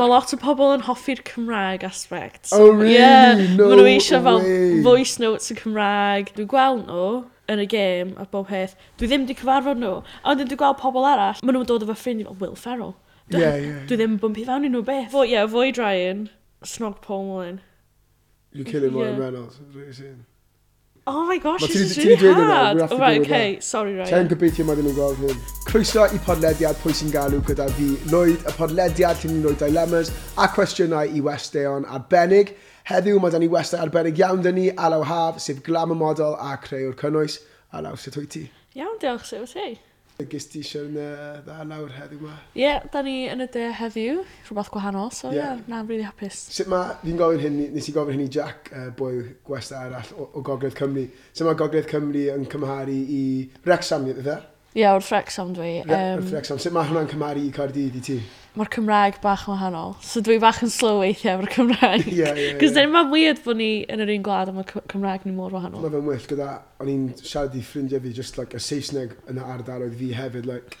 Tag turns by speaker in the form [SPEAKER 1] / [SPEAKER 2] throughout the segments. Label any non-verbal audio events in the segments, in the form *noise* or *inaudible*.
[SPEAKER 1] Mae lot o pobl yn hoffi'r Cymraeg aspect.
[SPEAKER 2] Oh, really? No
[SPEAKER 1] ma' nhw eisiau fel
[SPEAKER 2] way.
[SPEAKER 1] voice notes yn Cymraeg. Dwi'n gweld nhw yn y gêm a bob peth. Dwi ddim wedi cyfarfod nhw. A wedyn dwi'n gweld pobl arall. Mae nhw'n dod efo ffrind i fel Will Ferrell. Dwi-
[SPEAKER 2] Ie, ie.
[SPEAKER 1] Dwi ddim yn bwmpi fewn i nhw beth. Fo, ie, yeah, Void Ryan, Snog Paul Mullin.
[SPEAKER 2] You're killing Ryan
[SPEAKER 1] Ie.
[SPEAKER 2] Reynolds. is what you're saying.
[SPEAKER 1] Oh my gosh,
[SPEAKER 2] Ma'
[SPEAKER 1] this
[SPEAKER 2] ti-
[SPEAKER 1] is
[SPEAKER 2] ti
[SPEAKER 1] really
[SPEAKER 2] di dweud hwnna,
[SPEAKER 1] hard.
[SPEAKER 2] we have to
[SPEAKER 1] Oh, right,
[SPEAKER 2] deal with
[SPEAKER 1] okay, sorry
[SPEAKER 2] Ta'n
[SPEAKER 1] Ryan.
[SPEAKER 2] gobeithio mae ddim yn gweld hyn. Croeso i podlediad Pwy sy'n galw gyda fi, Lloyd, y podlediad lle ni'n rhoi dilemmas a cwestiynau i westeion arbennig. Heddiw mae dan ni westau arbennig iawn dyn ni, Alaw Haf, sef glam y model a creu'r cynnwys. Alaw, sut wyt ti?
[SPEAKER 1] Iawn, diolch, sef ti?
[SPEAKER 2] Gys ti eisiau yn uh, dda lawr heddiw yma?
[SPEAKER 1] Ie, yeah, da ni yn y de heddiw, rhywbeth gwahanol, so ie,
[SPEAKER 2] Ie.
[SPEAKER 1] yeah. na'n really hapus.
[SPEAKER 2] Sut mae, fi'n gofyn hyn, i- nes i gofyn hyn i Jack, uh, boi gwesta arall o, o Gogledd Cymru. Sut mae Gogledd Cymru yn cymharu i Wrexham, ie, dde?
[SPEAKER 1] Ie, yeah, wrth Wrexham dwi.
[SPEAKER 2] Ie,
[SPEAKER 1] Um,
[SPEAKER 2] wrth Wrexham. Sut mae hwnna'n cymharu i Cardydd i ti?
[SPEAKER 1] Mae'r Cymraeg bach yn wahanol, so dwi bach yn slow weithiau efo'r Cymraeg.
[SPEAKER 2] Ie, ie, ie.
[SPEAKER 1] Cos dyn ma'n weird bod ni yn yr un gwlad a mae C- Cymraeg ni mor wahanol.
[SPEAKER 2] Mae fe'n well gyda, o'n i'n siarad i ffrindiau fi, just like y Saesneg yn y ardal oedd fi hefyd, like,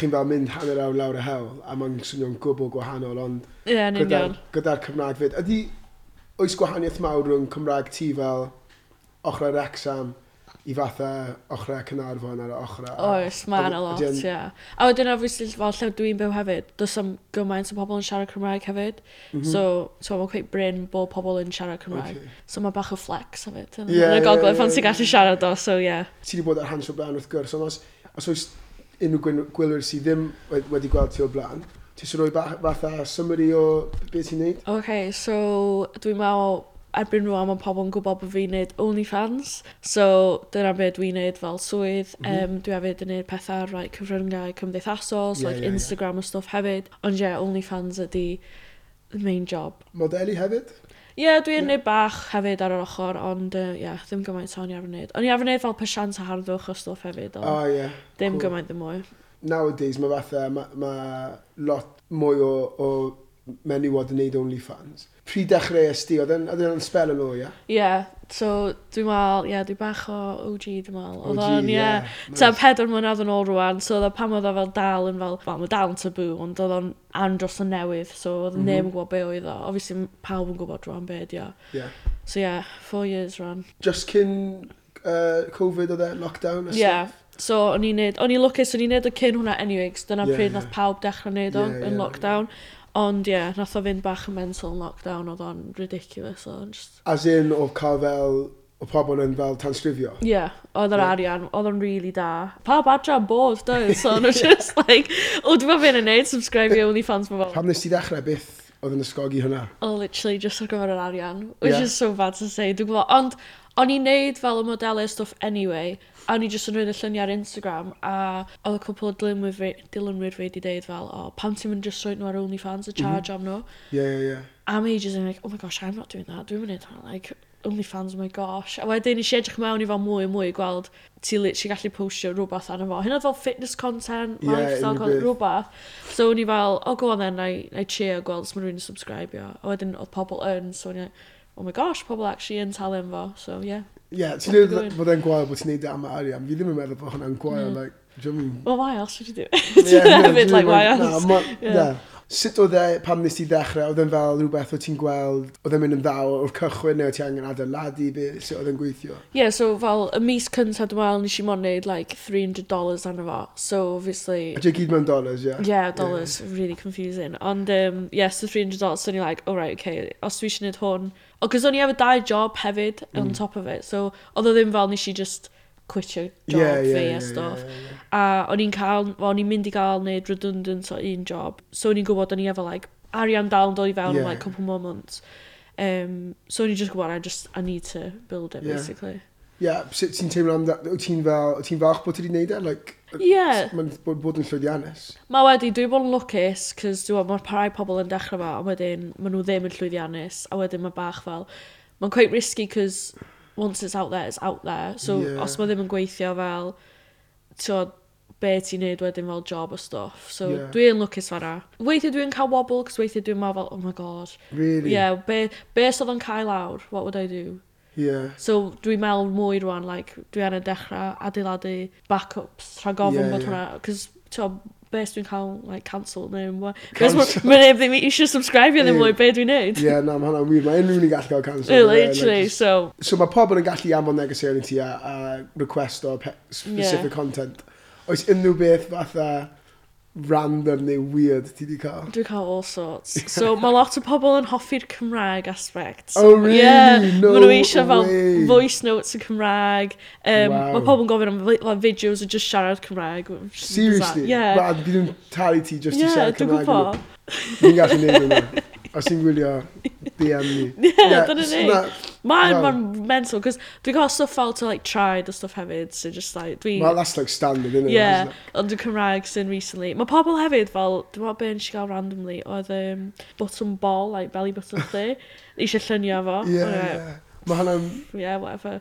[SPEAKER 2] chi'n fel mynd hanner awr lawr y hel, a mae'n swnio'n gwbl gwahanol, ond
[SPEAKER 1] Ie, yeah, yn
[SPEAKER 2] gyda'r
[SPEAKER 1] union.
[SPEAKER 2] gyda Cymraeg fyd. Ydy, oes gwahaniaeth mawr rhwng Cymraeg ti fel ochrau Rexham i fatha ochrau Cynarfon ar y ochrau?
[SPEAKER 1] Oes, mae'n a
[SPEAKER 2] Ydy-
[SPEAKER 1] lot,
[SPEAKER 2] ydy yn-
[SPEAKER 1] ie. A wedyn obviously fel lle dwi'n byw hefyd, does am gymaint o pobl yn siarad Cymraeg hefyd.
[SPEAKER 2] Mhm.
[SPEAKER 1] So, so mae'n cweith bryn bod pobl yn siarad Cymraeg.
[SPEAKER 2] Ocê.
[SPEAKER 1] So mae bach o flex hefyd. Yn
[SPEAKER 2] Ie,
[SPEAKER 1] yn y
[SPEAKER 2] ie, ie,
[SPEAKER 1] gogledd pan
[SPEAKER 2] ie,
[SPEAKER 1] ti'n gallu
[SPEAKER 2] ie.
[SPEAKER 1] siarad o, so ie.
[SPEAKER 2] Ti wedi bod ar Hansel Brown wrth gwrs, ond os, os oes unrhyw gwyn- gwylwyr sydd ddim we- wedi gweld ti o blaen, ti eisiau rhoi ba- fatha summary o beth ti'n neud?
[SPEAKER 1] OK, so dwi'n meddwl erbyn rwan mae pobl yn gwybod bod fi'n neud OnlyFans. So dyna beth dwi'n neud fel swydd.
[SPEAKER 2] Mhm.
[SPEAKER 1] Mm -hmm. um, dwi hefyd yn neud pethau rai cyfryngau cymdeithasol,
[SPEAKER 2] Ie,
[SPEAKER 1] so like
[SPEAKER 2] ie, ie.
[SPEAKER 1] Instagram a stuff hefyd. Ond ie, yeah, OnlyFans ydi the main job.
[SPEAKER 2] Modeli hefyd?
[SPEAKER 1] Ie, yeah, dwi'n neud bach hefyd ar yr ochr, ond uh, yeah, ddim gymaint o'n i ar wneud. O'n i ar wneud fel pasiant a harddwch o stwff hefyd,
[SPEAKER 2] O,
[SPEAKER 1] ond
[SPEAKER 2] oh, ie. Yeah.
[SPEAKER 1] ddim
[SPEAKER 2] cool.
[SPEAKER 1] gymaint ddim mwy.
[SPEAKER 2] nowadays mae fatha, mae ma lot mwy o, o menywod yn neud OnlyFans. Pryd dechrau ysdi, oedd yn oedd yn spel yn ôl, ia?
[SPEAKER 1] Ie, yeah, so dwi'n meddwl, ie, yeah, dwi bach o OG dwi'n meddwl. Oedd
[SPEAKER 2] OG,
[SPEAKER 1] o'n, ie,
[SPEAKER 2] ie,
[SPEAKER 1] ta
[SPEAKER 2] nice.
[SPEAKER 1] pedwar mlynedd yn ôl rwan, so oedd o pam oedd o fel dal yn fel, wel, mae dal yn tabw, ond oedd o'n andros o newydd, so oedd mm -hmm. neb yn gwybod be oedd o. Obviously, m- pawb yn gwybod rwan be, ie.
[SPEAKER 2] Yeah.
[SPEAKER 1] So ie, yeah, four years rwan.
[SPEAKER 2] Just cyn uh, Covid oedd e, lockdown?
[SPEAKER 1] Ie, yeah. so o'n i'n neud, o'n i'n lwcus, o'n i'n neud o cyn hwnna anyway, 'cause dyna
[SPEAKER 2] Ie,
[SPEAKER 1] pryd
[SPEAKER 2] ie.
[SPEAKER 1] nath pawb dechrau neud o
[SPEAKER 2] Ie, ie,
[SPEAKER 1] yn lockdown. Ond ie, yeah, nath o fynd bach yn mental yn lockdown, oedd o'n ridiculous, oedd o'n just...
[SPEAKER 2] As in, o cael fel, o pobl yn fel tanslifio.
[SPEAKER 1] Ie, yeah, oedd yr
[SPEAKER 2] Ie.
[SPEAKER 1] arian, oedd o'n really da. Pawb adra yn bod, doedd, so o'n nhw *laughs* just like, o, dwi'n meddwl yn neud, subscribe i OnlyFans mae fel.
[SPEAKER 2] Pam nes ti ddechrau, beth oedd yn ysgogi hwnna?
[SPEAKER 1] O, literally, just ar gyfer yr arian, which
[SPEAKER 2] Ie.
[SPEAKER 1] is so bad to say, dwi'n gwybod. Ond, o'n i'n neud fel y modelau stuff anyway, a o'n i just yn rhoi y lluniau ar Instagram, a oedd y cwpl o dilynwyr fi, dilynwyr fi wedi deud fel, o, pam ti'n mynd just rhoi nhw ar OnlyFans, a charge am nhw?
[SPEAKER 2] Ie, ie, ie.
[SPEAKER 1] am ages yn like, oh my gosh, I'm not doing that, dwi'n mynd hwnna, like, OnlyFans, oh my gosh. A wedyn nes i edrych mewn i fel mwy a mwy, gweld ti literally gallu postio rhywbeth arno fo. Hynna fel fitness content,
[SPEAKER 2] Ie,
[SPEAKER 1] yeah, lifestyle
[SPEAKER 2] unrhyw
[SPEAKER 1] content,
[SPEAKER 2] beth.
[SPEAKER 1] rhywbeth. So o'n i fel, oh go on then, na i, na i cheer, gweld os mae rhywun yn subscribio. A wedyn oedd pobl yn, so o'n i, like, oh my gosh, pobl actually yn talu am fo. So yeah.
[SPEAKER 2] Ie, ti'n
[SPEAKER 1] That's
[SPEAKER 2] dweud
[SPEAKER 1] good.
[SPEAKER 2] bod e'n gwael bod ti'n neud e am y arian. Fi ddim yn meddwl bod hwnna'n gwael,
[SPEAKER 1] Mm.
[SPEAKER 2] like, dwi'n
[SPEAKER 1] Well, why else would you do *laughs* it?
[SPEAKER 2] Ie,
[SPEAKER 1] Yeah,
[SPEAKER 2] ie,
[SPEAKER 1] a bit like,
[SPEAKER 2] dwi'n
[SPEAKER 1] why
[SPEAKER 2] meddwl-
[SPEAKER 1] else?
[SPEAKER 2] na, ma-
[SPEAKER 1] Ie.
[SPEAKER 2] ie. Sut oedd e, pam nes ti ddechrau, oedd e'n fel rhywbeth o ti'n gweld, oedd e'n mynd yn dda o'r cychwyn neu o ti angen adeiladu, be, sut oedd e'n gweithio?
[SPEAKER 1] Yeah, so fel y mis cyntaf dwi'n meddwl nes i mon neud like $300 arno fo. So obviously...
[SPEAKER 2] A ti'n gyd mewn dollars, ie?
[SPEAKER 1] Yeah, dollars, really confusing. Ond, um, yes, the $300, so o'n i like, oh right, okay, os dwi eisiau neud hwn. O, cos o'n i efo dau job hefyd mm. on top of it, so oedd o ddim fel nes i just quitio job yeah, fi yeah, a stuff.
[SPEAKER 2] ie, ie.
[SPEAKER 1] A o'n i'n cael, wel, o'n i'n mynd i gael neud redundant o un job, so o'n i'n gwybod o'n i efo like, arian dal yn dod i fewn
[SPEAKER 2] Ie.
[SPEAKER 1] yeah. like couple more months. Um, so o'n i'n just gwybod, I just, I need to build it,
[SPEAKER 2] Ie.
[SPEAKER 1] yeah. basically.
[SPEAKER 2] Ie, sut ti'n teimlo am dat, o ti'n fel, o ti'n falch bod ti wedi neud e? Like,
[SPEAKER 1] Ie.
[SPEAKER 2] Mae'n bod, bod yn llwyddiannus.
[SPEAKER 1] Mae wedi, dwi wedi bod yn lwcus, cos dwi'n meddwl, mae'r parai pobl yn dechrau fa, a wedyn, maen nhw ddim yn llwyddiannus, a wedyn mae bach fel, mae'n quite risky, cos once it's out there, it's out there. So,
[SPEAKER 2] Ie.
[SPEAKER 1] yeah. os mae ddim yn gweithio fel, ti'n be ti'n neud wedyn fel job o stuff. So,
[SPEAKER 2] Ie.
[SPEAKER 1] yeah. dwi'n lwcus fanna. Weithiau dwi'n cael wobl, cos weithiau dwi'n meddwl, fel, oh my god.
[SPEAKER 2] Really?
[SPEAKER 1] Yeah, be, be os oedd yn cael lawr, what would I do?
[SPEAKER 2] Ie.
[SPEAKER 1] So dwi'n meddwl mwy rwan, like, dwi ar y dechrau adeiladu backups, rhag ofyn
[SPEAKER 2] Ie,
[SPEAKER 1] yeah, bod
[SPEAKER 2] ie.
[SPEAKER 1] hwnna, cos to beth dwi'n cael like, cancel neu mwy. Beth mae'n neb ddim eisiau subscribe i ddim
[SPEAKER 2] Ie.
[SPEAKER 1] mwy beth dwi'n neud.
[SPEAKER 2] Ie, na, mae hwnna'n wir. Mae unrhyw un yn gallu cael cancel.
[SPEAKER 1] Yeah,
[SPEAKER 2] ynde? Like,
[SPEAKER 1] *laughs* literally,
[SPEAKER 2] just-
[SPEAKER 1] so
[SPEAKER 2] So mae pobl yn gallu anfon negeseuon i ti a, a request o pe- specific
[SPEAKER 1] Ie.
[SPEAKER 2] content. Oes unrhyw beth fatha random neu weird ti di cael?
[SPEAKER 1] Dwi'n cael all
[SPEAKER 2] *laughs*
[SPEAKER 1] sorts. So mae lot o pobl yn hoffi'r Cymraeg aspect.
[SPEAKER 2] Oh, really? No
[SPEAKER 1] ma' nhw eisiau fel
[SPEAKER 2] way.
[SPEAKER 1] voice notes y Cymraeg. Um,
[SPEAKER 2] Wow.
[SPEAKER 1] Mae pobl yn gofyn am vi- like, videos o just siarad Cymraeg. which is bizarre.
[SPEAKER 2] Seriously?
[SPEAKER 1] Yeah.
[SPEAKER 2] Rad, bydd yn talu ti just i
[SPEAKER 1] Yeah,
[SPEAKER 2] siarad
[SPEAKER 1] dwi'n
[SPEAKER 2] Cymraeg.
[SPEAKER 1] *laughs* gwybod.
[SPEAKER 2] Dwi'n gallu neud hwnna. Os ti'n gwylio DM ni.
[SPEAKER 1] Ie, *laughs* dyna ni. Mae'n
[SPEAKER 2] Wow.
[SPEAKER 1] ma mental, cos dwi'n cael stuff fel to like tried a stuff hefyd, so just like, dwi...
[SPEAKER 2] Well, that's like standard, isn't it?
[SPEAKER 1] Yeah,
[SPEAKER 2] That's not-
[SPEAKER 1] ond dwi'n Cymraeg sy'n recently. Mae pobl hefyd fel, dwi'n meddwl beth nes i gael randomly, oedd um, button ball, like belly button
[SPEAKER 2] *laughs*
[SPEAKER 1] thing, eisiau llunio fo.
[SPEAKER 2] Yeah,
[SPEAKER 1] Alright,
[SPEAKER 2] yeah. Mae hwnna'n...
[SPEAKER 1] yeah, whatever.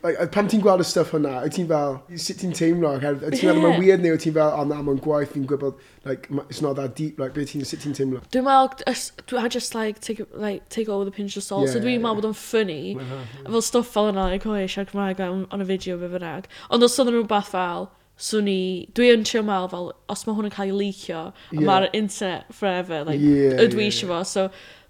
[SPEAKER 2] Like, a- pan ti'n gweld y stuff hwnna, wyt ti'n fel, sut ti'n teimlo? ac er- Wyt ti'n meddwl
[SPEAKER 1] Ie.
[SPEAKER 2] mae'n weird neu wyt ti'n fel, o na, mae'n gwaith, fi'n gwybod, like, ma- it's not that deep, like, beth ti'n, sut ti'n teimlo?
[SPEAKER 1] Dwi'n meddwl, ys- dwi- I just like take, it- like, take it all with a pinch of salt,
[SPEAKER 2] Yeah,
[SPEAKER 1] so
[SPEAKER 2] yeah,
[SPEAKER 1] dwi'n meddwl bod o'n ffynnu. Fel stuff fel yna, like, o, eisiau Cymraeg on, on a video fe fynnag. Ond os oedd yn rhywbeth fel, swn i, dwi yn trio meddwl fel, os mae hwn yn cael ei leakio,
[SPEAKER 2] Ie.
[SPEAKER 1] yeah. mae'r internet forever, like,
[SPEAKER 2] Ie,
[SPEAKER 1] yeah, ydw i
[SPEAKER 2] ie,
[SPEAKER 1] eisiau fo, so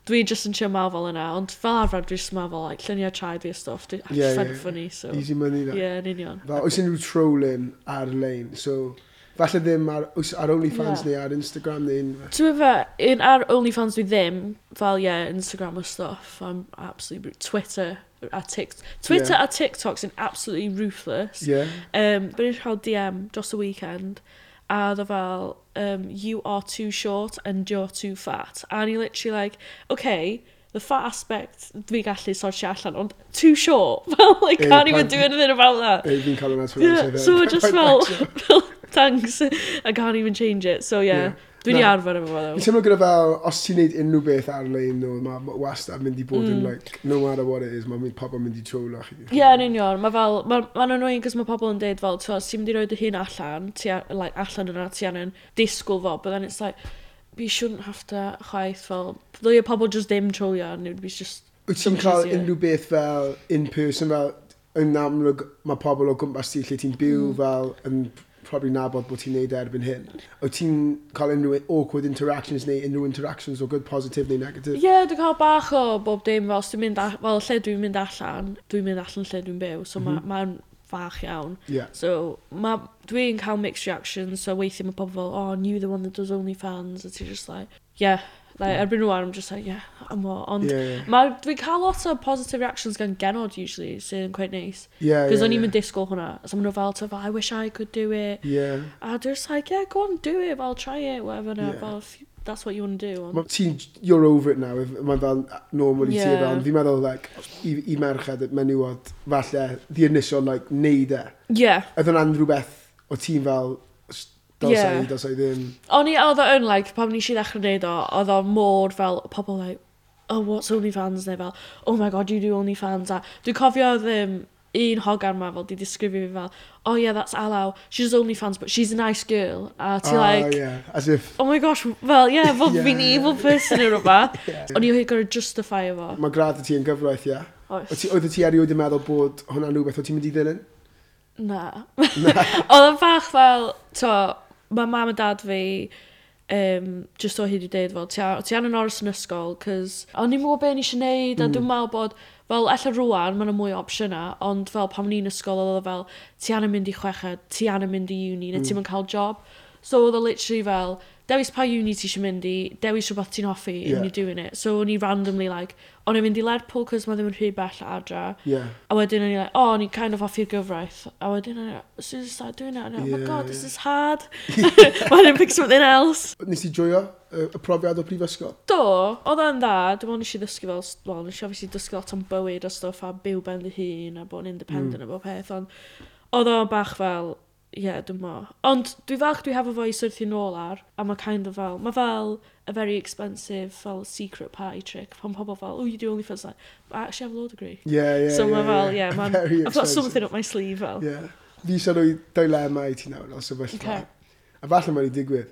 [SPEAKER 1] dwi just yn trio meddwl fel yna, ond fel arfer dwi'n just meddwl, like, lluniau traed fi a stuff, dwi'n
[SPEAKER 2] Ie,
[SPEAKER 1] yeah,
[SPEAKER 2] ie,
[SPEAKER 1] yeah,
[SPEAKER 2] ie.
[SPEAKER 1] ffynnu, so, ie,
[SPEAKER 2] Easy money, that.
[SPEAKER 1] yeah, yn union.
[SPEAKER 2] Fel, oes unrhyw trolling ar-lein, so, falle ddim ar, oes ar OnlyFans
[SPEAKER 1] Ie.
[SPEAKER 2] neu ar Instagram neu unrhyw.
[SPEAKER 1] Ti'n meddwl, un ar OnlyFans fi ddim, fel ie, yeah, Instagram a stuff, I'm absolutely, bru- Twitter a TikTok. Twitter
[SPEAKER 2] Yeah.
[SPEAKER 1] a TikTok's yn absolutely ruthless.
[SPEAKER 2] Yeah?
[SPEAKER 1] Um, but it's how DM dros y weekend, a ddo fel, um, you are too short and you're too fat. And you're literally like, okay, the fat aspect dwi gallu sortio allan, ond too short. *laughs* Fel, like,
[SPEAKER 2] Ie,
[SPEAKER 1] can't even do
[SPEAKER 2] pan-
[SPEAKER 1] anything about that.
[SPEAKER 2] Ei, fi'n cael hwnna
[SPEAKER 1] Yeah,
[SPEAKER 2] trwy'n
[SPEAKER 1] so I
[SPEAKER 2] *laughs*
[SPEAKER 1] just felt, *laughs* thanks, I can't even change it. So yeah,
[SPEAKER 2] Yeah.
[SPEAKER 1] dwi wedi
[SPEAKER 2] Na.
[SPEAKER 1] arfer efo fo
[SPEAKER 2] Fi'n
[SPEAKER 1] though.
[SPEAKER 2] teimlo gyda fel, os ti'n neud unrhyw beth ar-lein, no, mae ma wastad mynd i bod yn, like, no matter what it is, mae mynd- pobl mynd i trolo chi.
[SPEAKER 1] Ie, Mm. yeah, yn union, mae fel, mae'n ma ma'n annoying cos mae pobl yn deud fel, ti'n meddwl, ti'n mynd i roed y hyn allan, ti a, like, allan yna, ti angen disgwyl fo, but then it's like, you shouldn't have to chwaith fel, ddwy o pobl just ddim trolio, and it would be just,
[SPEAKER 2] Wyt ti'n
[SPEAKER 1] Sometimes,
[SPEAKER 2] cael
[SPEAKER 1] ie.
[SPEAKER 2] unrhyw beth fel in-person fel yn amlwg mae pobl o gwmpas ti lle ti'n byw
[SPEAKER 1] Mm.
[SPEAKER 2] fel yn probably nabod bod ti'n neud e erbyn hyn. Wyt ti'n cael unrhyw awkward interactions neu unrhyw interactions o good positive neu
[SPEAKER 1] ie,
[SPEAKER 2] negative?
[SPEAKER 1] yeah, dwi'n cael bach o bob dim, fel, os dwi'n mynd, a- fel, lle dwi'n mynd allan, dwi'n mynd allan lle dwi'n byw, so ma- mae'n fach iawn.
[SPEAKER 2] Yeah.
[SPEAKER 1] So, ma, dwi'n cael mixed reactions, so weithiau mae pobl fel, oh, and you the one that does OnlyFans, and ti'n just like, yeah. Like, erbyn rwan, I'm just like, yeah, I'm what. Ond,
[SPEAKER 2] Ie, ie.
[SPEAKER 1] yeah, yeah. dwi'n cael lot o positive reactions gan genod, usually, sy'n quite nice.
[SPEAKER 2] Oh, Yeah,
[SPEAKER 1] Because o'n
[SPEAKER 2] yeah,
[SPEAKER 1] i'n mynd disgwyl hwnna. So, maen nhw fel, to, fel, I wish I could do it.
[SPEAKER 2] Yeah.
[SPEAKER 1] A dwi'n just like, yeah, go on, do it, fel, try it, whatever. Yeah.
[SPEAKER 2] Yeah.
[SPEAKER 1] Fel, if you- that's what you want to do. Ond,
[SPEAKER 2] Mae ti'n, you're over it now, if- mae'n fel normal i ti
[SPEAKER 1] Ie.
[SPEAKER 2] fel, ond fi'n meddwl, like, i, i merched, menywod, falle, the initial, like, neud e.
[SPEAKER 1] yeah.
[SPEAKER 2] Oedd hwnna'n rhywbeth o ti'n fel, s- dylsa
[SPEAKER 1] Ie.
[SPEAKER 2] i, dylsa i ddim.
[SPEAKER 1] O'n i, oedd o yn, like, pan nes i ddechrau wneud o, oedd o mor fel, pobl, like, oh, what's OnlyFans, neu fel, oh my god, you do OnlyFans, a dwi'n cofio oedd um, un hogan ma fel, di disgrifio fi fel, oh yeah, that's Alaw, she does OnlyFans, but she's a nice girl, a ti, like,
[SPEAKER 2] Oh, yeah, as if,
[SPEAKER 1] oh my gosh, fel, yeah, fel
[SPEAKER 2] Yeah,
[SPEAKER 1] yeah, fi'n
[SPEAKER 2] yeah.
[SPEAKER 1] evil person neu rhywbeth,
[SPEAKER 2] Yeah.
[SPEAKER 1] o'n i oedd gorau justify efo.
[SPEAKER 2] mae gradd y ti yn gyfraith, ie. Yeah? Wyt
[SPEAKER 1] Oes,
[SPEAKER 2] ti- Oedd ti erioed yn meddwl bod hwnna'n rhywbeth o ti'n mynd i ddilyn?
[SPEAKER 1] na. *laughs* oedd yn fach fel, to, mae mam a dad fi, um, just o hyd i deud fel, ti a- ti an yn oros yn ysgol, cos o'n i'n gwybod beth ni eisiau neud, a dwi'n meddwl bod, fel, ella rwan, mae yna mwy o opsiyna, ond fel pan o'n i'n ysgol, oedd o fel, ti an yn mynd i chweched, ti an yn mynd i uni, neu ti'n cael job. So oedd o literally fel, dewis pa uni ti eisiau mynd i, dewis rhywbeth ti'n hoffi,
[SPEAKER 2] Ie.
[SPEAKER 1] yeah. and you're doing it. So o'n i randomly, like, o'n i'n mynd i Lerpwl, cos mae ddim yn rhy bell a adra.
[SPEAKER 2] Ie.
[SPEAKER 1] A wedyn o'n i like, oh, o'n i kind of hoffi'r gyfraith. A wedyn o'n i like, as soon as I started doing that, o'n i like, oh
[SPEAKER 2] Yeah,
[SPEAKER 1] my god, this
[SPEAKER 2] yeah.
[SPEAKER 1] is hard. *laughs* Why didn't I pick something else?
[SPEAKER 2] Nes ti joio y, y profiad o prifysgol?
[SPEAKER 1] Do, oedd o'n dda, dwi'n meddwl nes i ddysgu fel, well, nes i obviously ddysgu lot am bywyd a stuff a byw ben dy hun a bod yn independent mm. a bod peth, ond oedd o'n bach fel, ie, yeah, dwi'n mo. Ond dwi falch dwi hefo fo i syrthio nôl ar, a mae kind of fel, mae fel a very expensive fel secret party trick, pan pobl fel, oh, you do only like, I actually have a law degree.
[SPEAKER 2] Ie, ie, ie.
[SPEAKER 1] so mae fel,
[SPEAKER 2] ie. *laughs*
[SPEAKER 1] yeah, man,
[SPEAKER 2] Very
[SPEAKER 1] I've got
[SPEAKER 2] expensive.
[SPEAKER 1] something up my sleeve fel.
[SPEAKER 2] Ie. Fi sy'n rhoi dilema i ti nawr, os yfell
[SPEAKER 1] Ocê.
[SPEAKER 2] A falle mae'n ei digwydd.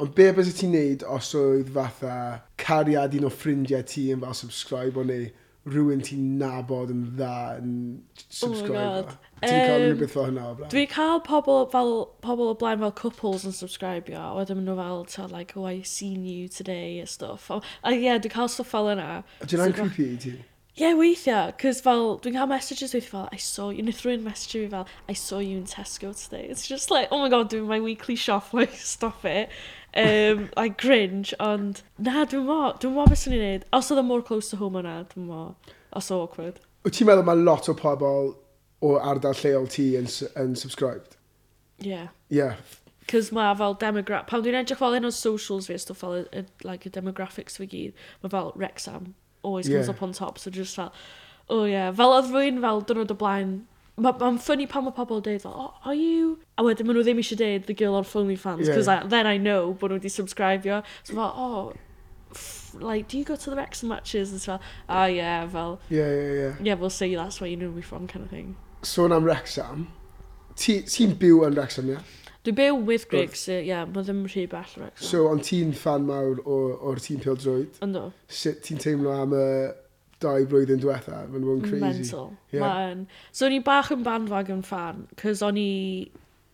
[SPEAKER 2] Ond be bys ti'n neud os oedd fatha cariad un o ffrindiau ti yn fel subscribe o neu rhywun ti'n nabod yn dda yn
[SPEAKER 1] Oh my
[SPEAKER 2] subscribe.
[SPEAKER 1] God.
[SPEAKER 2] Oh ti'n cael
[SPEAKER 1] Yym,
[SPEAKER 2] rhywbeth fel hynna o blaen.
[SPEAKER 1] Dwi cael pobl fel pobl o blaen fel couples yn subscribio, a wedyn maen nhw fel, to, like, oh, I seen you today, a stuff. A a ie, yeah, dwi'n cael stuff fel yna.
[SPEAKER 2] Dwi'n
[SPEAKER 1] So-
[SPEAKER 2] rhan creepy i ti.
[SPEAKER 1] Ie, weithiau, cos fel, dwi'n cael messages weithiau fel, I saw you, nid rhywun messagio fi fel, I saw you in Tesco today. It's just like, oh my god, doing my weekly shop, like, *laughs* stop it. Um, I cringe, ond, na, dwi'n mo, dwi'n mo beth sy'n ei wneud. Os oedd o more close to home o'na, dwi'n mo, os o awkward.
[SPEAKER 2] Wyt ti'n meddwl mae lot o pobl o ardal lleol ti yn, s- yn subscribed?
[SPEAKER 1] Yeah.
[SPEAKER 2] Ie. Yeah.
[SPEAKER 1] Cos mae fel demogra... Pan dwi'n edrych fel un o socials fi, a stuff fel, y, y, like, y demographics fi gyd, mae fel Rexham always comes
[SPEAKER 2] Yeah.
[SPEAKER 1] up on top, so just fel, oh yeah. Fel oedd rwy'n fel dyrnod o blaen, mae'n ma ffynnu pan mae pobl yn deud, fel, oh, are you... A wedyn maen nhw ddim eisiau deud the girl on OnlyFans,
[SPEAKER 2] Yeah.
[SPEAKER 1] because yeah. then I know bod nhw wedi subscribio. So fel, oh, f- like, do you go to the Wrexham matches? And fel, ah yeah, fel,
[SPEAKER 2] Ie, ie, ie.
[SPEAKER 1] yeah, we'll say that's where you know me from, kind of thing.
[SPEAKER 2] Sôn am Wrexham. Ti- Ti'n byw yn Wrexham, ie?
[SPEAKER 1] Dwi'n byw with Greg, so yeah, mae ddim rhy bell o Wrexham.
[SPEAKER 2] So, ond ti'n fan mawr o- o'r tîm pildroed.
[SPEAKER 1] Ynddo.
[SPEAKER 2] Sut ti'n teimlo am y dau blwyddyn diwetha? Mae'n bod yn crazy.
[SPEAKER 1] Mental.
[SPEAKER 2] Ie.
[SPEAKER 1] Yeah. Man. So o'n i bach yn bandwagon fan, cos o'n i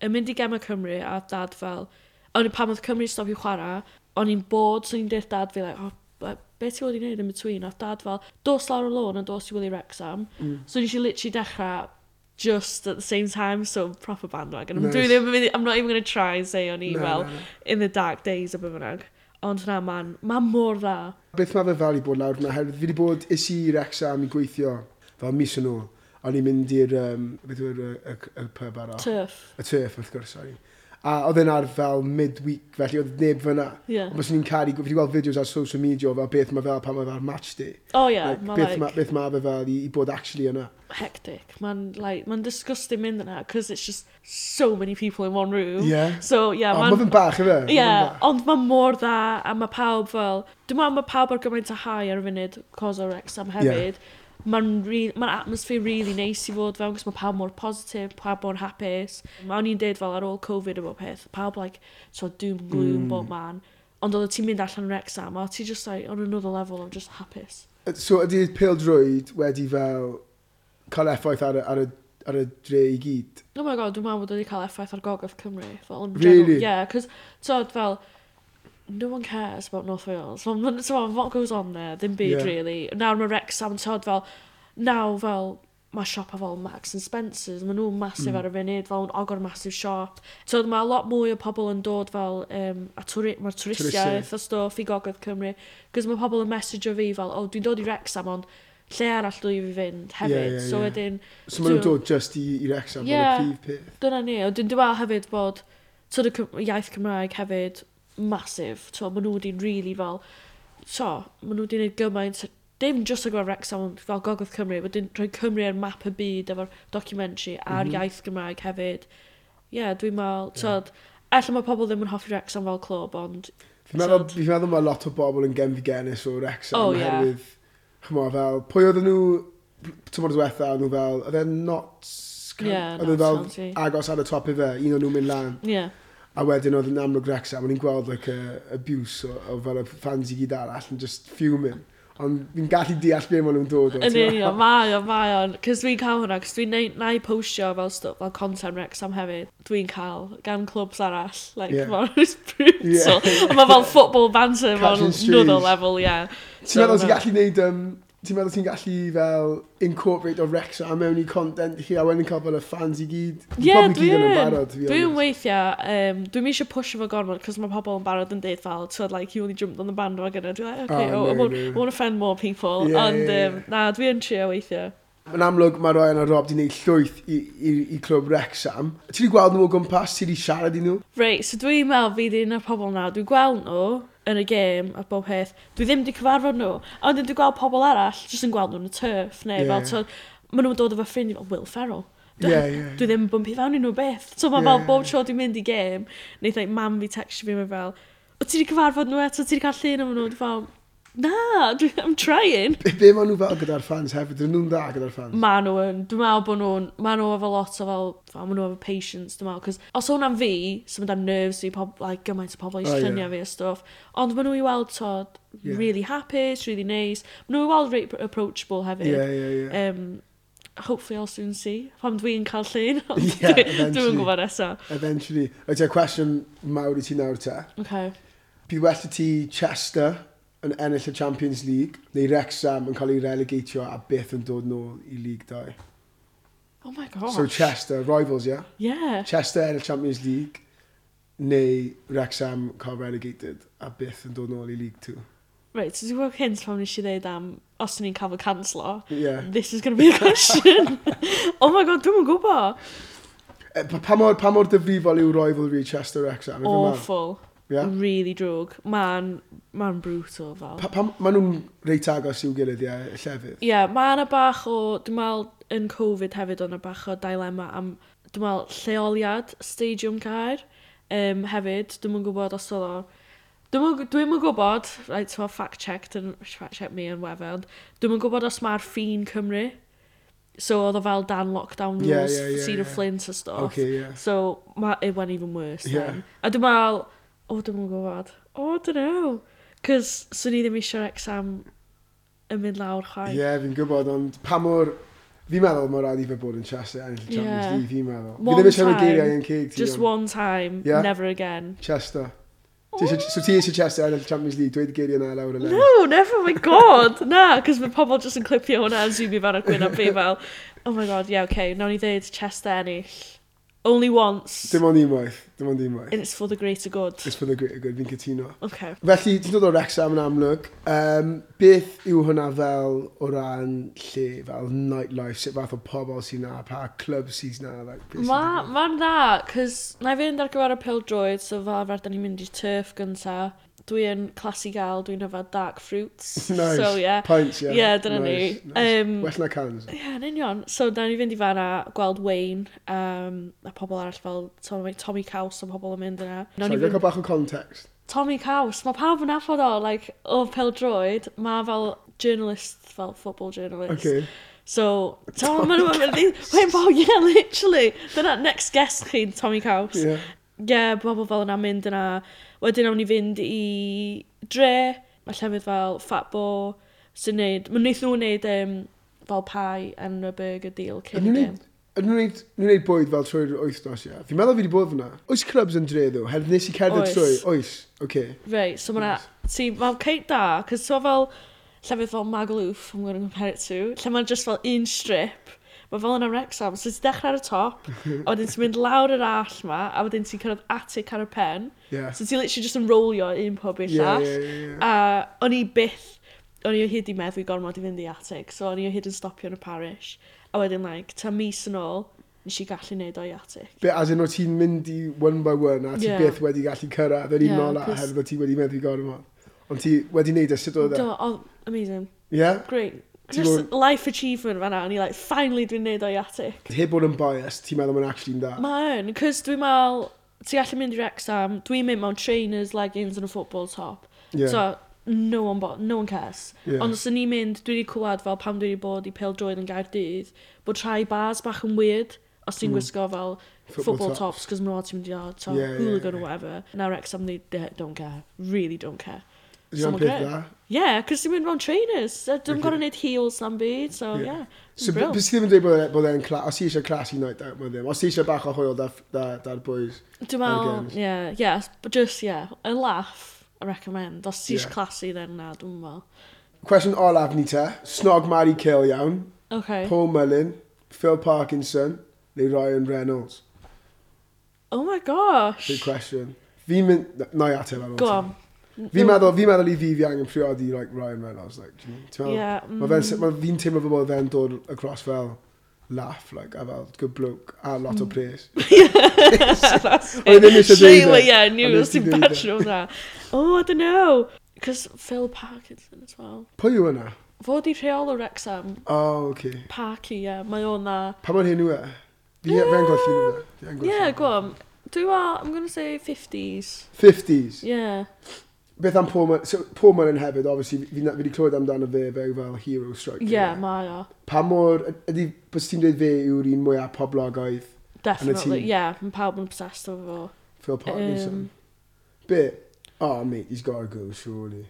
[SPEAKER 1] yn mynd i Gemma Cymru a oedd dad fel... O'n i pan oedd Cymru stopio chwarae, o'n i'n bod, so o'n i'n deud dad fi, like, oh, be- be ti wedi gwneud in between? A oedd dad fel, dos lawr y lôn a dos i Willy Rexham. Mm. So o'n i eisiau literally dechrau just at the same time, so proper bandwagon. Nice.
[SPEAKER 2] Nice.
[SPEAKER 1] Dwi ddim, yn mynd i- I'm not even going to try and say o'n i, no,
[SPEAKER 2] Na, na,
[SPEAKER 1] well,
[SPEAKER 2] na.
[SPEAKER 1] in the dark days o be bynnag. Ond na, man, man mor dda.
[SPEAKER 2] Beth mae fe fel i bod lawr yna? Herwydd fi wedi bod is i Wrexham i gweithio fel mis yn ôl. O'n i'n mynd i'r um, beth yw'r y, y, y pub
[SPEAKER 1] Oh.
[SPEAKER 2] ar o.
[SPEAKER 1] Turf.
[SPEAKER 2] Y turf wrth gwrs, sorry. A oedd e'n ar fel midweek, felly oedd neb fyna.
[SPEAKER 1] Ie.
[SPEAKER 2] Ond bys ni'n caru, fi wedi gweld fideos ar social media o fel beth mae fel pan mae fel match day.
[SPEAKER 1] O oh, ie, yeah,
[SPEAKER 2] Like,
[SPEAKER 1] mae
[SPEAKER 2] beth
[SPEAKER 1] like...
[SPEAKER 2] ma- beth mae fe fel i, i bod actually yna.
[SPEAKER 1] hectic. Man, like, man disgusting mynd yna, because it's just so many people in one room.
[SPEAKER 2] Ie.
[SPEAKER 1] So, yeah, Oh,
[SPEAKER 2] O,
[SPEAKER 1] man...
[SPEAKER 2] Mae fe'n bach, efe?
[SPEAKER 1] Ie, yeah, ond mae mor dda, a mae pawb fel... Dwi'n meddwl mae pawb ar gymaint o high ar y funud, cos o Wrexham hefyd. Yeah. Mae'n re... ma atmosffer really neis i fod fewn, cos mae pawb mor positif, pawb mor hapus. Mae o'n i'n deud fel ar ôl Covid o bob peth, pawb like, so doom gloom mm. bob man. Ond oedd ti'n mynd allan Wrexham, a ti just like, on another level of just hapus.
[SPEAKER 2] So ydy pildroed wedi fel cael effaith ar, y- ar, y, ar y dre i gyd?
[SPEAKER 1] Oh my god, dwi'n meddwl bod wedi cael effaith ar gogodd Cymru. Fel, yn
[SPEAKER 2] Really?
[SPEAKER 1] general. Yeah, cos, tyd, fel, no one cares about North Wales. So, m- so what goes on there? Ddim byd,
[SPEAKER 2] Yeah.
[SPEAKER 1] yeah. really. Nawr mae Wrexham, tyd, fel, now, fel, mae siop a fel Max and Spencer's, maen nhw'n masif
[SPEAKER 2] Hmm.
[SPEAKER 1] mm. ar y funud, fel yn ogor masif siop. So mae a lot mwy o pobl yn dod fel, um, a twri, mae'r
[SPEAKER 2] Twristiaeth.
[SPEAKER 1] twristiaeth a stwff i gogodd Cymru, cos mae pobl yn messageio fi fel, o, oh, dwi'n dod i Wrexham, ond lle arall dwi fi fynd hefyd.
[SPEAKER 2] ie,
[SPEAKER 1] So
[SPEAKER 2] ie.
[SPEAKER 1] wedyn,
[SPEAKER 2] So maen nhw'n
[SPEAKER 1] Dwi'n-
[SPEAKER 2] dod just i, i Wrexham
[SPEAKER 1] Ie.
[SPEAKER 2] yeah. ar y prif peth.
[SPEAKER 1] Dyna ni, ond dwi'n dweud hefyd bod tyd y Cym- iaith Cymraeg hefyd masif. So, maen nhw wedi'n really fel... So, maen nhw wedi'n gwneud gymaint... Dim just o gyfer Wrexham, ond fel Gogodd Cymru, bod yn rhoi Cymru ar map y byd efo'r documentary a'r mm
[SPEAKER 2] Mhm.
[SPEAKER 1] -hmm. iaith Gymraeg hefyd. Ie, yeah, dwi'n meddwl... Tyd, Ella mae pobl ddim yn hoffi Wrexham fel clwb, ond...
[SPEAKER 2] Fi'n meddwl,
[SPEAKER 1] Tyd.
[SPEAKER 2] fi meddwl mae lot o bobl yn gen fi genis o Wrexham.
[SPEAKER 1] Oh, ie.
[SPEAKER 2] Herwydd, chymod fel, pwy oedden nhw, tymor diwetha, oedden nhw fel, oedd e'n not...
[SPEAKER 1] Ie,
[SPEAKER 2] oedden
[SPEAKER 1] Notts
[SPEAKER 2] fel
[SPEAKER 1] County.
[SPEAKER 2] agos ar y top i fe, un o'n nhw'n mynd lan.
[SPEAKER 1] Ie. Yeah.
[SPEAKER 2] A wedyn oedd yn amlwg Wrexham, o'n i'n gweld like, uh, abuse o, o fel y fans i gyd arall, yn just fuming. Ond fi'n gallu deall be maen nhw'n dod o.
[SPEAKER 1] Yn
[SPEAKER 2] ti'n
[SPEAKER 1] union, mae o, mae o. Cys dwi'n cael hwnna, cys dwi'n neu- na i postio fel stuff, fel content recs am hefyd. Dwi'n cael gan clwbs arall. Like, yeah.
[SPEAKER 2] Yeah.
[SPEAKER 1] mae'n rhywbeth *laughs* brutal.
[SPEAKER 2] Yeah.
[SPEAKER 1] Yeah. Mae fel football banter
[SPEAKER 2] Catching
[SPEAKER 1] mewn
[SPEAKER 2] strays.
[SPEAKER 1] another level, yeah.
[SPEAKER 2] Ti'n meddwl ti'n gallu neud... Um, ti'n meddwl ti'n gallu fel incorporate o Rex a mewn i content chi a wedyn cael fel y fans i gyd?
[SPEAKER 1] Yeah,
[SPEAKER 2] Probably gyd yn y
[SPEAKER 1] dwi'n.
[SPEAKER 2] barod, to be
[SPEAKER 1] Dwi'n
[SPEAKER 2] honest.
[SPEAKER 1] weithiau, um, dwi'n eisiau push fo gormod, cos mae pobl yn barod yn deud fel, tyd, like, you only jumped on the bandwagon. A Dwi'n like, okay,
[SPEAKER 2] Oh,
[SPEAKER 1] oh, I,
[SPEAKER 2] no,
[SPEAKER 1] won't,
[SPEAKER 2] no.
[SPEAKER 1] I won't offend more people.
[SPEAKER 2] Yeah,
[SPEAKER 1] Ond,
[SPEAKER 2] yeah,
[SPEAKER 1] um, na, dwi'n trio weithiau.
[SPEAKER 2] Yn amlwg mae Ryan a Rob di wneud llwyth i, i, i clwb Rexham. Ti wedi gweld nhw o gwmpas, ti wedi siarad i nhw?
[SPEAKER 1] Reit, so dwi'n meddwl fi di un o'r pobol na, dwi'n gweld nhw yn y gêm a bob peth, dwi ddim wedi cyfarfod nhw, ond dwi'n gweld pobl arall, jyst yn gweld nhw yn y turf, neu yeah.
[SPEAKER 2] Ie.
[SPEAKER 1] fel, so, maen nhw'n dod efo ffrind i fel Will Ferrell. Dwi,
[SPEAKER 2] Ie, ie, ie.
[SPEAKER 1] *laughs* dwi ddim yn bwmpi fewn i nhw beth. So mae
[SPEAKER 2] Ie,
[SPEAKER 1] yeah. fel
[SPEAKER 2] ie.
[SPEAKER 1] bob tro dwi'n mynd i gêm, neith like, mam fi textio fi, mae fel, o ti wedi cyfarfod nhw eto, ti wedi cael llun o'n nhw, dwi fel, Na, dwi- I'm trying.
[SPEAKER 2] Be maen nhw fel gyda'r fans hefyd? Dyn nhw'n dda gyda'r fans?
[SPEAKER 1] Ma nhw yn, dwi'n meddwl bod nhw'n, ma nhw efo lot o fel, fel ma nhw efo patience, dwi'n meddwl, cos os hwnna'n fi, sy'n mynd am nerves i, pob, like, gymaint o pobl i
[SPEAKER 2] O, ie.
[SPEAKER 1] lluniau fi a stuff, ond ma nhw i weld, tod,
[SPEAKER 2] Ie.
[SPEAKER 1] really hapus, really nice, ma nhw i weld reit approachable hefyd.
[SPEAKER 2] Ie, ie, ie.
[SPEAKER 1] Um, hopefully I'll soon see, pan dwi'n cael
[SPEAKER 2] *laughs*
[SPEAKER 1] llun, ond
[SPEAKER 2] Ie,
[SPEAKER 1] dwi-
[SPEAKER 2] eventually.
[SPEAKER 1] dwi'n gwybod nesaf.
[SPEAKER 2] Eventually. Oed te, cwestiwn mawr i ti nawr te.
[SPEAKER 1] Okay.
[SPEAKER 2] Bu well i ti Chester yn ennill y Champions League, neu Wrexham yn cael ei relegatio a byth yn dod nôl i League 2.
[SPEAKER 1] Oh my gosh.
[SPEAKER 2] So Chester, rivals, yeah?
[SPEAKER 1] Yeah.
[SPEAKER 2] Chester yn y Champions League neu Wrexham cael relegated a byth yn dod nôl i League 2.
[SPEAKER 1] Right, so dwi'n gweld hyn pan nes i ddeud am os ni'n cael fy canslo.
[SPEAKER 2] Yeah.
[SPEAKER 1] This is going to be a *laughs* question. oh my god, dwi'n gwybod.
[SPEAKER 2] E, pa- Pa mor, pa mor difrifol yw rivalry Chester Wrexham?
[SPEAKER 1] Awful.
[SPEAKER 2] Yeah.
[SPEAKER 1] Really drwg. Ma'n, ma'n brutal fel.
[SPEAKER 2] Pa, pa, ma nhw'n reit agos i'w gilydd, ie, y llefydd.
[SPEAKER 1] Ie, yeah, mae yna bach o, dwi'n meddwl, yn Covid hefyd o'na bach o dilema am, dwi'n meddwl, lleoliad, stadium caer, um, hefyd, dwi'n yn gwybod os oedd o, Dwi'n yn gwybod, right, so fact checked and fact check me yn wefel, ond dwi'n yn gwybod os mae'r ffin Cymru, so oedd o fel dan lockdown rules,
[SPEAKER 2] Ie,
[SPEAKER 1] yeah,
[SPEAKER 2] ie, ie,
[SPEAKER 1] Cedar
[SPEAKER 2] ie.
[SPEAKER 1] Flint a stuff.
[SPEAKER 2] Okay, ie.
[SPEAKER 1] So, ma, it went even worse
[SPEAKER 2] Ie.
[SPEAKER 1] yeah. then. A dwi'n meddwl, o, dwi'n yn gwybod, o, dwi'n know. Cos, swn i ddim eisiau'r exam yn mynd lawr chwaith.
[SPEAKER 2] Ie, fi'n gwybod, ond pa mor... Fi'n meddwl mor rhaid i fe bod yn Chester ennill y Champions
[SPEAKER 1] Ie.
[SPEAKER 2] League, fi'n meddwl. Fi
[SPEAKER 1] One
[SPEAKER 2] ddim eisiau rhoi
[SPEAKER 1] time,
[SPEAKER 2] geiriau yn ceg ti.
[SPEAKER 1] Just
[SPEAKER 2] ond
[SPEAKER 1] one time,
[SPEAKER 2] Yeah.
[SPEAKER 1] never again.
[SPEAKER 2] Chester.
[SPEAKER 1] Oh.
[SPEAKER 2] Ti isio- So ti eisiau Chester ennill y Champions League, dweud geiriau yna lawr y lefydd.
[SPEAKER 1] No, never, my god, *laughs* na, cos mae pobl just yn clipio hwnna yn zoomio fan o'r gwyn a fi fel, oh my god, yeah, okay, nawn ni ddeud chest ennill. Only once,
[SPEAKER 2] Dim ond unwaith, dim ond unwaith.
[SPEAKER 1] and it's for the greater good.
[SPEAKER 2] It's for the greater good, fi'n cytuno.
[SPEAKER 1] Okay.
[SPEAKER 2] Felly, ti'n dod o Wrexham yn amlwg. Um, beth yw hwnna fel o ran lle, fel nightlife, sut fath o pobl sy'n na, pa club sy'n na, like, beth sy'n
[SPEAKER 1] Ma'n
[SPEAKER 2] digwydd?
[SPEAKER 1] ma dda, cos na i fynd ar gyfer y pildroed, so fel arfer, da ni'n mynd i turf gynta. Dwi'n classy gal, dwi'n yfad dark fruits.
[SPEAKER 2] *laughs* Nice.
[SPEAKER 1] So, yeah.
[SPEAKER 2] Pints, yeah.
[SPEAKER 1] Yeah, dyna ni. Um,
[SPEAKER 2] Well na cans.
[SPEAKER 1] Ie, yeah, yn union. So, da ni fynd i fanna, gweld Wayne, um, a pobl arall fel Tommy, Tommy Caws o pobl yn mynd yna. Nawn
[SPEAKER 2] Sorry,
[SPEAKER 1] ni
[SPEAKER 2] gael
[SPEAKER 1] fynd...
[SPEAKER 2] bach o context.
[SPEAKER 1] Tommy Caws, mae pawb yn affod o, like, o Peldroed, mae fel journalist, fel football journalist.
[SPEAKER 2] Okay.
[SPEAKER 1] So, Tom, maen nhw'n mynd i... Wayne Paul, yeah, literally. Dyna next guest chi, Tommy Caws.
[SPEAKER 2] Yeah.
[SPEAKER 1] Ie, yeah, bobl fel yna mynd yna. Wedyn awn ni fynd i dre, mae llefydd fel Fatbo, sy'n neud, mae'n wneud nhw'n neud um, fel pie and a burger deal
[SPEAKER 2] Yn
[SPEAKER 1] cyn
[SPEAKER 2] nhw'n
[SPEAKER 1] gym.
[SPEAKER 2] neud- yn nhw'n neud- yn nhw'n neud bwyd fel trwy'r wythnos, ie. Fi'n meddwl fi wedi bod fyna. Oes clubs yn dre, ddo? Her nes i cerdded
[SPEAKER 1] Oes.
[SPEAKER 2] trwy? Oes. Okay.
[SPEAKER 1] Right, so mae'na, ti'n, mae'n ceit da, cos so fel llefydd fel Magaluf, I'm going to compare it to, lle mae'n just fel un strip, mae fel yna Wrexham, so ti'n dechrau ar y top, a wedyn ti'n mynd lawr yr all ma, a wedyn ti'n cyrraedd atic ar y pen,
[SPEAKER 2] Yeah.
[SPEAKER 1] so ti'n literally just yn rolio un pob i'r
[SPEAKER 2] Yeah,
[SPEAKER 1] llall.
[SPEAKER 2] yeah, yeah, yeah.
[SPEAKER 1] A o'n i byth, o'n i o hyd i meddwl i gormod i fynd i atig, so o'n i o hyd yn stopio yn y parish. A wedyn, like, ta mis yn ôl, nes i gallu neud o'i atig.
[SPEAKER 2] Be, as in, o ti'n mynd i one by one, a ti
[SPEAKER 1] Ie.
[SPEAKER 2] byth wedi gallu cyrraedd, yr un
[SPEAKER 1] Ie,
[SPEAKER 2] ola,
[SPEAKER 1] cos-
[SPEAKER 2] herwydd bod ti wedi meddwl i gormod. Ond ti wedi wneud e, sut oedd e?
[SPEAKER 1] Do, oh, amazing.
[SPEAKER 2] Ie?
[SPEAKER 1] Great.
[SPEAKER 2] Ti
[SPEAKER 1] Just
[SPEAKER 2] fod-
[SPEAKER 1] life achievement fan'na, o'n i like, finally dwi'n neud o'i atig.
[SPEAKER 2] Heb bod yn biased, ti'n meddwl mae'n actually'n da.
[SPEAKER 1] Mae yn, cos dwi'n meddwl, ti gallu mynd i'r exam, dwi'n mynd mewn trainers, leggings and a football top.
[SPEAKER 2] Ie.
[SPEAKER 1] So, no one, bo- no one cares.
[SPEAKER 2] Ie.
[SPEAKER 1] Ond os o'n i'n mynd, dwi wedi clywed fel pam dwi wedi bod i Peldroed yn Gaerdydd, bod rhai bars bach yn weird os ti'n gwisgo fel
[SPEAKER 2] Football
[SPEAKER 1] football,
[SPEAKER 2] tops.
[SPEAKER 1] tops, cos mae'n rhaid ti'n mynd i o, to,
[SPEAKER 2] Ie, ie,
[SPEAKER 1] hooligan
[SPEAKER 2] ie.
[SPEAKER 1] or whatever. Now Wrexham, they, they don't care. Really don't care.
[SPEAKER 2] Ydy'n
[SPEAKER 1] Someone
[SPEAKER 2] am peth
[SPEAKER 1] great.
[SPEAKER 2] da.
[SPEAKER 1] Yeah, cos ti'n mynd mewn trainers. so Dwi'n
[SPEAKER 2] Okay.
[SPEAKER 1] gorau neud heels na'n byd, so
[SPEAKER 2] Ie.
[SPEAKER 1] yeah.
[SPEAKER 2] So,
[SPEAKER 1] Brill.
[SPEAKER 2] bys ti ddim yn dweud bod e- bod e'n clas, os ti eisiau clas i night out, mae ddim. Os ti eisiau bach o hwyl da- da- da'r boys.
[SPEAKER 1] Dwi'n
[SPEAKER 2] Again.
[SPEAKER 1] meddwl, yeah, yeah, but just, yeah, a laugh, I recommend. Os ti'n
[SPEAKER 2] Ie.
[SPEAKER 1] yeah. classy, then na, dwi'n meddwl.
[SPEAKER 2] Cwestiwn olaf ni te. Snog Mary Kill iawn.
[SPEAKER 1] Okay.
[SPEAKER 2] Paul Mullin, Phil Parkinson, neu Ryan Reynolds.
[SPEAKER 1] oh my gosh.
[SPEAKER 2] Big question. Fi'n mynd... Na i ateb ar ôl
[SPEAKER 1] Go
[SPEAKER 2] ti.
[SPEAKER 1] on. *laughs*
[SPEAKER 2] Fi'n meddwl, fi'n meddwl i fi fi angen priodi like Ryan Reynolds. Like, do you know? Ti'n meddwl?
[SPEAKER 1] Yeah, mm.
[SPEAKER 2] Mae fe'n sy- ma' fi'n teimlo fel bod fe'n dod across fel laugh, like, a fel good bloke, a lot
[SPEAKER 1] Mm.
[SPEAKER 2] o pres. O'n i ddim eisiau dweud
[SPEAKER 1] Shayla,
[SPEAKER 2] e.
[SPEAKER 1] yeah,
[SPEAKER 2] O'n i
[SPEAKER 1] knew us
[SPEAKER 2] ddim
[SPEAKER 1] ti'n
[SPEAKER 2] eisiau dweud
[SPEAKER 1] basio hwnna. Oh, I don't know. Cos Phil Parkinson as well.
[SPEAKER 2] Pwy yw yna?
[SPEAKER 1] Fod i rheol o Wrexham,
[SPEAKER 2] O, oh, okay.
[SPEAKER 1] Parky, ie, yeah, mae o'n na.
[SPEAKER 2] Pa mor hyn yw e? Fi
[SPEAKER 1] Yym,
[SPEAKER 2] fe'n golli nhw. e. Fi yn golli
[SPEAKER 1] Yeah,
[SPEAKER 2] nhw.
[SPEAKER 1] go on. Dwi wa, I'm gonna say 50s.
[SPEAKER 2] 50s.
[SPEAKER 1] Yeah.
[SPEAKER 2] Beth am Paul Mullen, so Paul Mullen hefyd, obviously, fi'n fi wedi clywed amdano fe fel fel hero striker.
[SPEAKER 1] Ie, yeah, mae o.
[SPEAKER 2] Pa mor, ydy, bys ti'n dweud fe yw'r un mwyaf poblogaidd
[SPEAKER 1] Definitely, ie. Yeah, mae pawb yn obsessed efo fo.
[SPEAKER 2] Phil Parkinson? Um, Bit. Oh, mate, he's got to go, surely.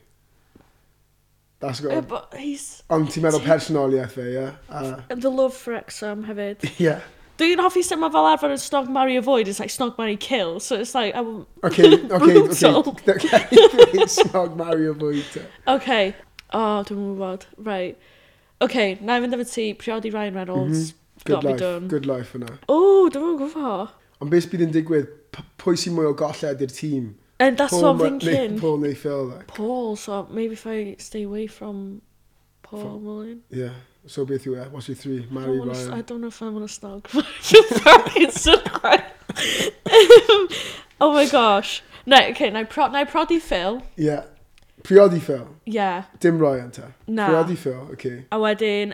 [SPEAKER 2] That's got
[SPEAKER 1] Yeah,
[SPEAKER 2] to...
[SPEAKER 1] but e, he's...
[SPEAKER 2] Ond ti'n meddwl
[SPEAKER 1] ti-
[SPEAKER 2] personoliaeth fe, ie?
[SPEAKER 1] *laughs*
[SPEAKER 2] A-
[SPEAKER 1] And the love for Exum hefyd.
[SPEAKER 2] Ie.
[SPEAKER 1] Dwi'n hoffi sut mae fel arfer yn snog marry avoid, it's like snog marry kill, so it's like... I'm...
[SPEAKER 2] Okay,
[SPEAKER 1] *laughs*
[SPEAKER 2] okay, okay.
[SPEAKER 1] Brutal.
[SPEAKER 2] *laughs* Okay, *laughs* snog Mario Bwyta.
[SPEAKER 1] Okay. Oh, dwi'n gwybod. Right. Okay, na i fynd efo ti, priodi Ryan Reynolds.
[SPEAKER 2] Mm-hmm. Good
[SPEAKER 1] Gotta be
[SPEAKER 2] life,
[SPEAKER 1] done. Oh,
[SPEAKER 2] good life yna.
[SPEAKER 1] O, dwi'n gwybod.
[SPEAKER 2] Ond beth bydd yn digwydd, p- pwy sy'n mwy o golled i'r tîm?
[SPEAKER 1] And that's what I'm
[SPEAKER 2] Ma- neu-
[SPEAKER 1] thinking. Paul.
[SPEAKER 2] Paul neu Phil, like.
[SPEAKER 1] so maybe if I stay away from Paul
[SPEAKER 2] From-
[SPEAKER 1] Mullin.
[SPEAKER 2] Yeah. So beth yw e? What's your three?
[SPEAKER 1] I
[SPEAKER 2] Mary
[SPEAKER 1] don't, wanna, I
[SPEAKER 2] Ryan.
[SPEAKER 1] don't know if I want to *laughs* snog Phil Parkinson. Um, *laughs* oh my gosh. No, okay, na i, pro, na i prodi Phil.
[SPEAKER 2] Yeah. Priodi Phil.
[SPEAKER 1] Yeah.
[SPEAKER 2] Dim Ryan ta.
[SPEAKER 1] Na.
[SPEAKER 2] Priodi Phil, okay.
[SPEAKER 1] A wedyn...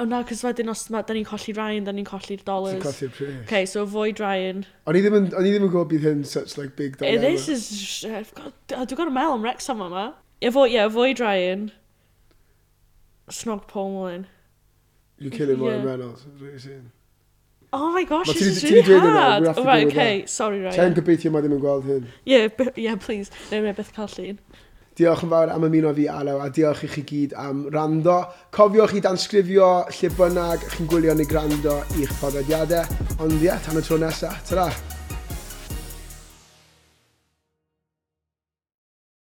[SPEAKER 1] O na, cos wedyn os ma, da ni'n colli Ryan, da ni'n colli'r
[SPEAKER 2] Ti'n
[SPEAKER 1] dollars.
[SPEAKER 2] colli'r pres.
[SPEAKER 1] Okay, so avoid Ryan.
[SPEAKER 2] O'n i ddim yn, o'n i ddim yn gwybod bydd hyn such like big
[SPEAKER 1] Eh,
[SPEAKER 2] dilemma.
[SPEAKER 1] This is... I've got, I've got a mail am Wrexham yma. Avoid, yeah, avoid Ryan. Snog Paul Mullin.
[SPEAKER 2] You're killing Ryan
[SPEAKER 1] Yeah.
[SPEAKER 2] Reynolds. that's what you're saying.
[SPEAKER 1] Oh my gosh,
[SPEAKER 2] But
[SPEAKER 1] this
[SPEAKER 2] ti-
[SPEAKER 1] is
[SPEAKER 2] ti
[SPEAKER 1] really
[SPEAKER 2] di dweud hwnna,
[SPEAKER 1] hard.
[SPEAKER 2] we'll have to
[SPEAKER 1] Oh, right,
[SPEAKER 2] deal with
[SPEAKER 1] okay, sorry
[SPEAKER 2] Ten
[SPEAKER 1] Ryan.
[SPEAKER 2] gobeithio mae ddim yn gweld hyn.
[SPEAKER 1] Yeah, b- yeah, please. No, no, Beth Callin.
[SPEAKER 2] Diolch yn fawr am ymuno fi Alaw a diolch i chi gyd am rando. Cofiwch i dansgrifio lle bynnag chi'n gwylio neu grando i'ch podlediadau. Ond ie, yeah, tan y tro nesaf. Ta-ra!